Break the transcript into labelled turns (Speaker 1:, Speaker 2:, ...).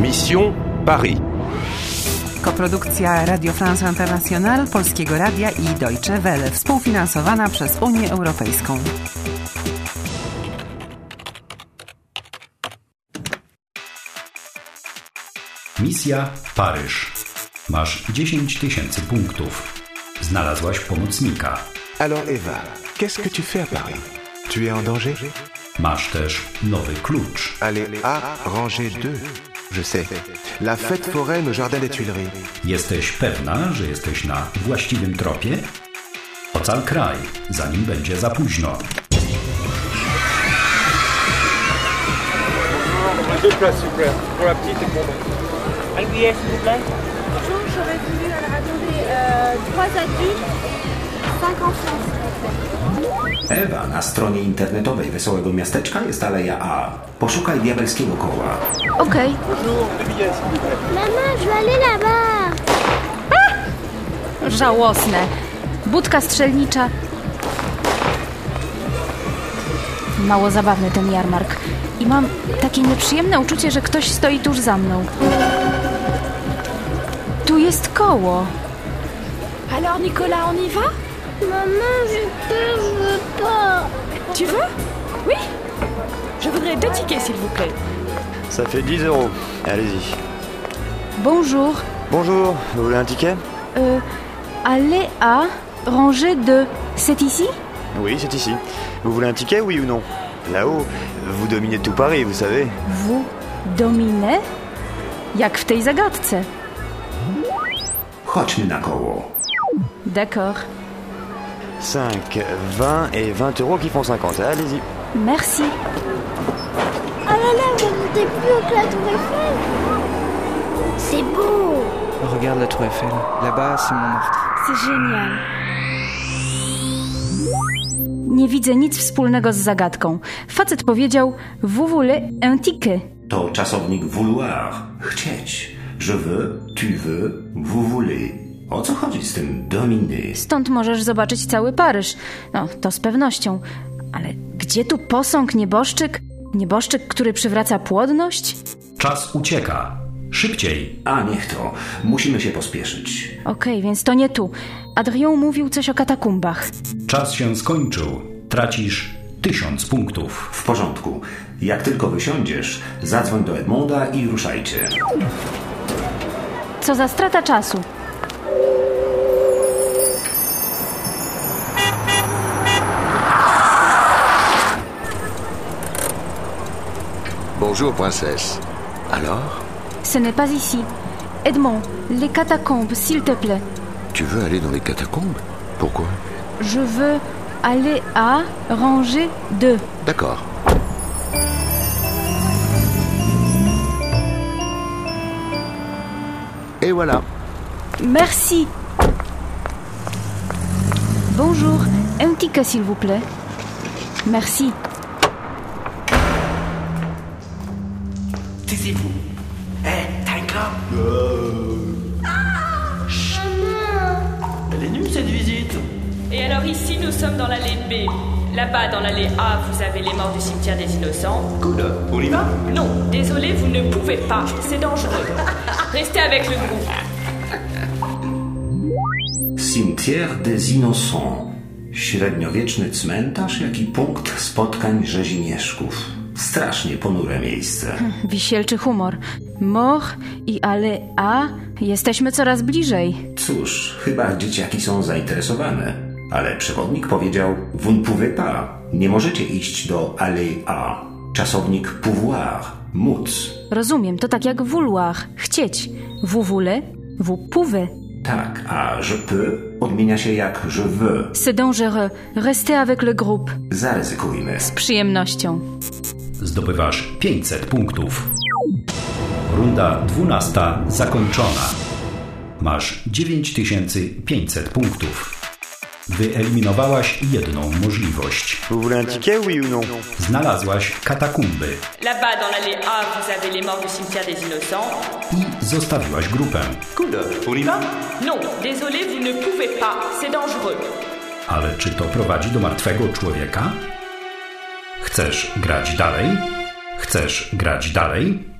Speaker 1: Mission Paris.
Speaker 2: Koprodukcja Radio France International, Polskiego Radia i Deutsche Welle, współfinansowana przez Unię Europejską.
Speaker 3: Misja Paryż. Masz 10 tysięcy punktów. Znalazłaś pomocnika.
Speaker 4: Alors Eva, qu'est-ce que tu fais à Paris Tu es en danger
Speaker 3: Masz też nowy klucz.
Speaker 4: Allez A, rangée 2. Je sais. La fête foraine au jardin des Tuileries.
Speaker 3: Jesteś pewna, że jesteś na właściwym tropie? Ocal kraj, zanim będzie za późno.
Speaker 5: Deux places, s'il vous plaît, pour la petite et pour moi. Un billet, s'il vous plaît.
Speaker 6: Bonjour, j'aurais voulu alors attendez, euh, trois adultes et cinq enfants, s'il vous plaît.
Speaker 7: Ewa, na stronie internetowej Wesołego Miasteczka jest aleja A. Poszukaj diabelskiego koła.
Speaker 8: Okej.
Speaker 6: Maman, je vais aller là-bas.
Speaker 8: Żałosne. Budka strzelnicza. Mało zabawny ten jarmark. I mam takie nieprzyjemne uczucie, że ktoś stoi tuż za mną. Tu jest koło.
Speaker 9: Alors Nicolas, on y va
Speaker 6: Maman, j'ai peur, je veux pas.
Speaker 9: Tu veux Oui Je voudrais deux tickets s'il vous plaît.
Speaker 10: Ça fait 10 euros. Allez-y.
Speaker 8: Bonjour.
Speaker 10: Bonjour, vous voulez un ticket
Speaker 8: Euh, allez à rangée 2. C'est ici
Speaker 10: Oui, c'est ici. Vous voulez un ticket, oui ou non Là-haut, vous dominez tout Paris, vous savez.
Speaker 8: W. Domine? Jak w tej zagadce.
Speaker 7: Chodźmy na koło.
Speaker 8: D'accord.
Speaker 10: 5, 20 et 20 euros qui font 50. Allez-y.
Speaker 8: Merci.
Speaker 6: Oh là là, vous n'êtes plus au la tour Eiffel. C'est beau.
Speaker 11: Regarde la tour Eiffel. Là-bas, c'est Montmartre.
Speaker 9: C'est génial.
Speaker 8: Nie widzę nic wspólnego z zagadką. Facet powiedział vous voulez un ticket.
Speaker 7: To czasownik vouloir. Chcieć. Je veux, tu veux, vous voulez. O co chodzi z tym dominy?
Speaker 8: Stąd możesz zobaczyć cały Paryż. No, to z pewnością. Ale gdzie tu posąg nieboszczyk? Nieboszczyk, który przywraca płodność?
Speaker 3: Czas ucieka. Szybciej.
Speaker 7: A niech to. Musimy się pospieszyć.
Speaker 8: Okej, więc to nie tu. Adrien mówił coś o katakumbach.
Speaker 3: Czas się skończył. Tracisz 1000 punktów.
Speaker 7: W porządku. Jak tylko wysiądziesz, zadzwoń do Edmonda i ruszajcie.
Speaker 8: Co za strata czasu.
Speaker 4: Bonjour, princesse. Alors
Speaker 8: Ce n'est pas ici. Edmond, les catacombes, s'il te plaît.
Speaker 4: Tu veux aller dans les catacombes Pourquoi
Speaker 8: Je veux aller à rangée 2.
Speaker 4: D'accord. Et voilà.
Speaker 8: Merci. Bonjour, un ticket s'il vous plaît. Merci.
Speaker 5: Taisez-vous. Hé, t'as une clope Elle est nulle cette visite.
Speaker 9: Et alors ici, nous sommes dans l'allée B. Là-bas, dans l'allée A, vous avez les morts du cimetière des innocents.
Speaker 5: Cool. On y va
Speaker 9: Non, désolé, vous ne pouvez pas, c'est dangereux. Restez avec le groupe.
Speaker 7: Cimetière des Innocents. Średniowieczny cmentarz, jak i punkt spotkań rzezimieszków. Strasznie ponure miejsce.
Speaker 8: Wisielczy humor. Moch i ale a jesteśmy coraz bliżej.
Speaker 7: Cóż, chyba dzieciaki są zainteresowane. Ale przewodnik powiedział, vous ne pouvez pas. Nie możecie iść do allée A. Czasownik pouvoir, móc.
Speaker 8: Rozumiem, to tak jak vouloir, chcieć. Vous voulez, vous pouvez.
Speaker 7: Tak, a je peux odmienia się jak je veux.
Speaker 8: C'est dangereux. Restez avec le groupe.
Speaker 7: Zaryzykujmy.
Speaker 8: Z przyjemnością.
Speaker 3: Zdobywasz 500 punktów. Runda 12 zakończona. Masz 9500 punktów. Wyeliminowałaś jedną możliwość.
Speaker 10: Vous voulez un ticket, oui ou non
Speaker 3: Znalazłaś katakumby
Speaker 9: Là-bas, dans l'allée A, vous avez les morts du cimetière des innocents.
Speaker 3: i zostawiłaś grupę.
Speaker 5: Cool. On y va
Speaker 9: Non, désolé, vous ne pouvez pas, c'est dangereux.
Speaker 3: Ale czy to prowadzi do martwego człowieka? Chcesz grać dalej? Chcesz grać dalej?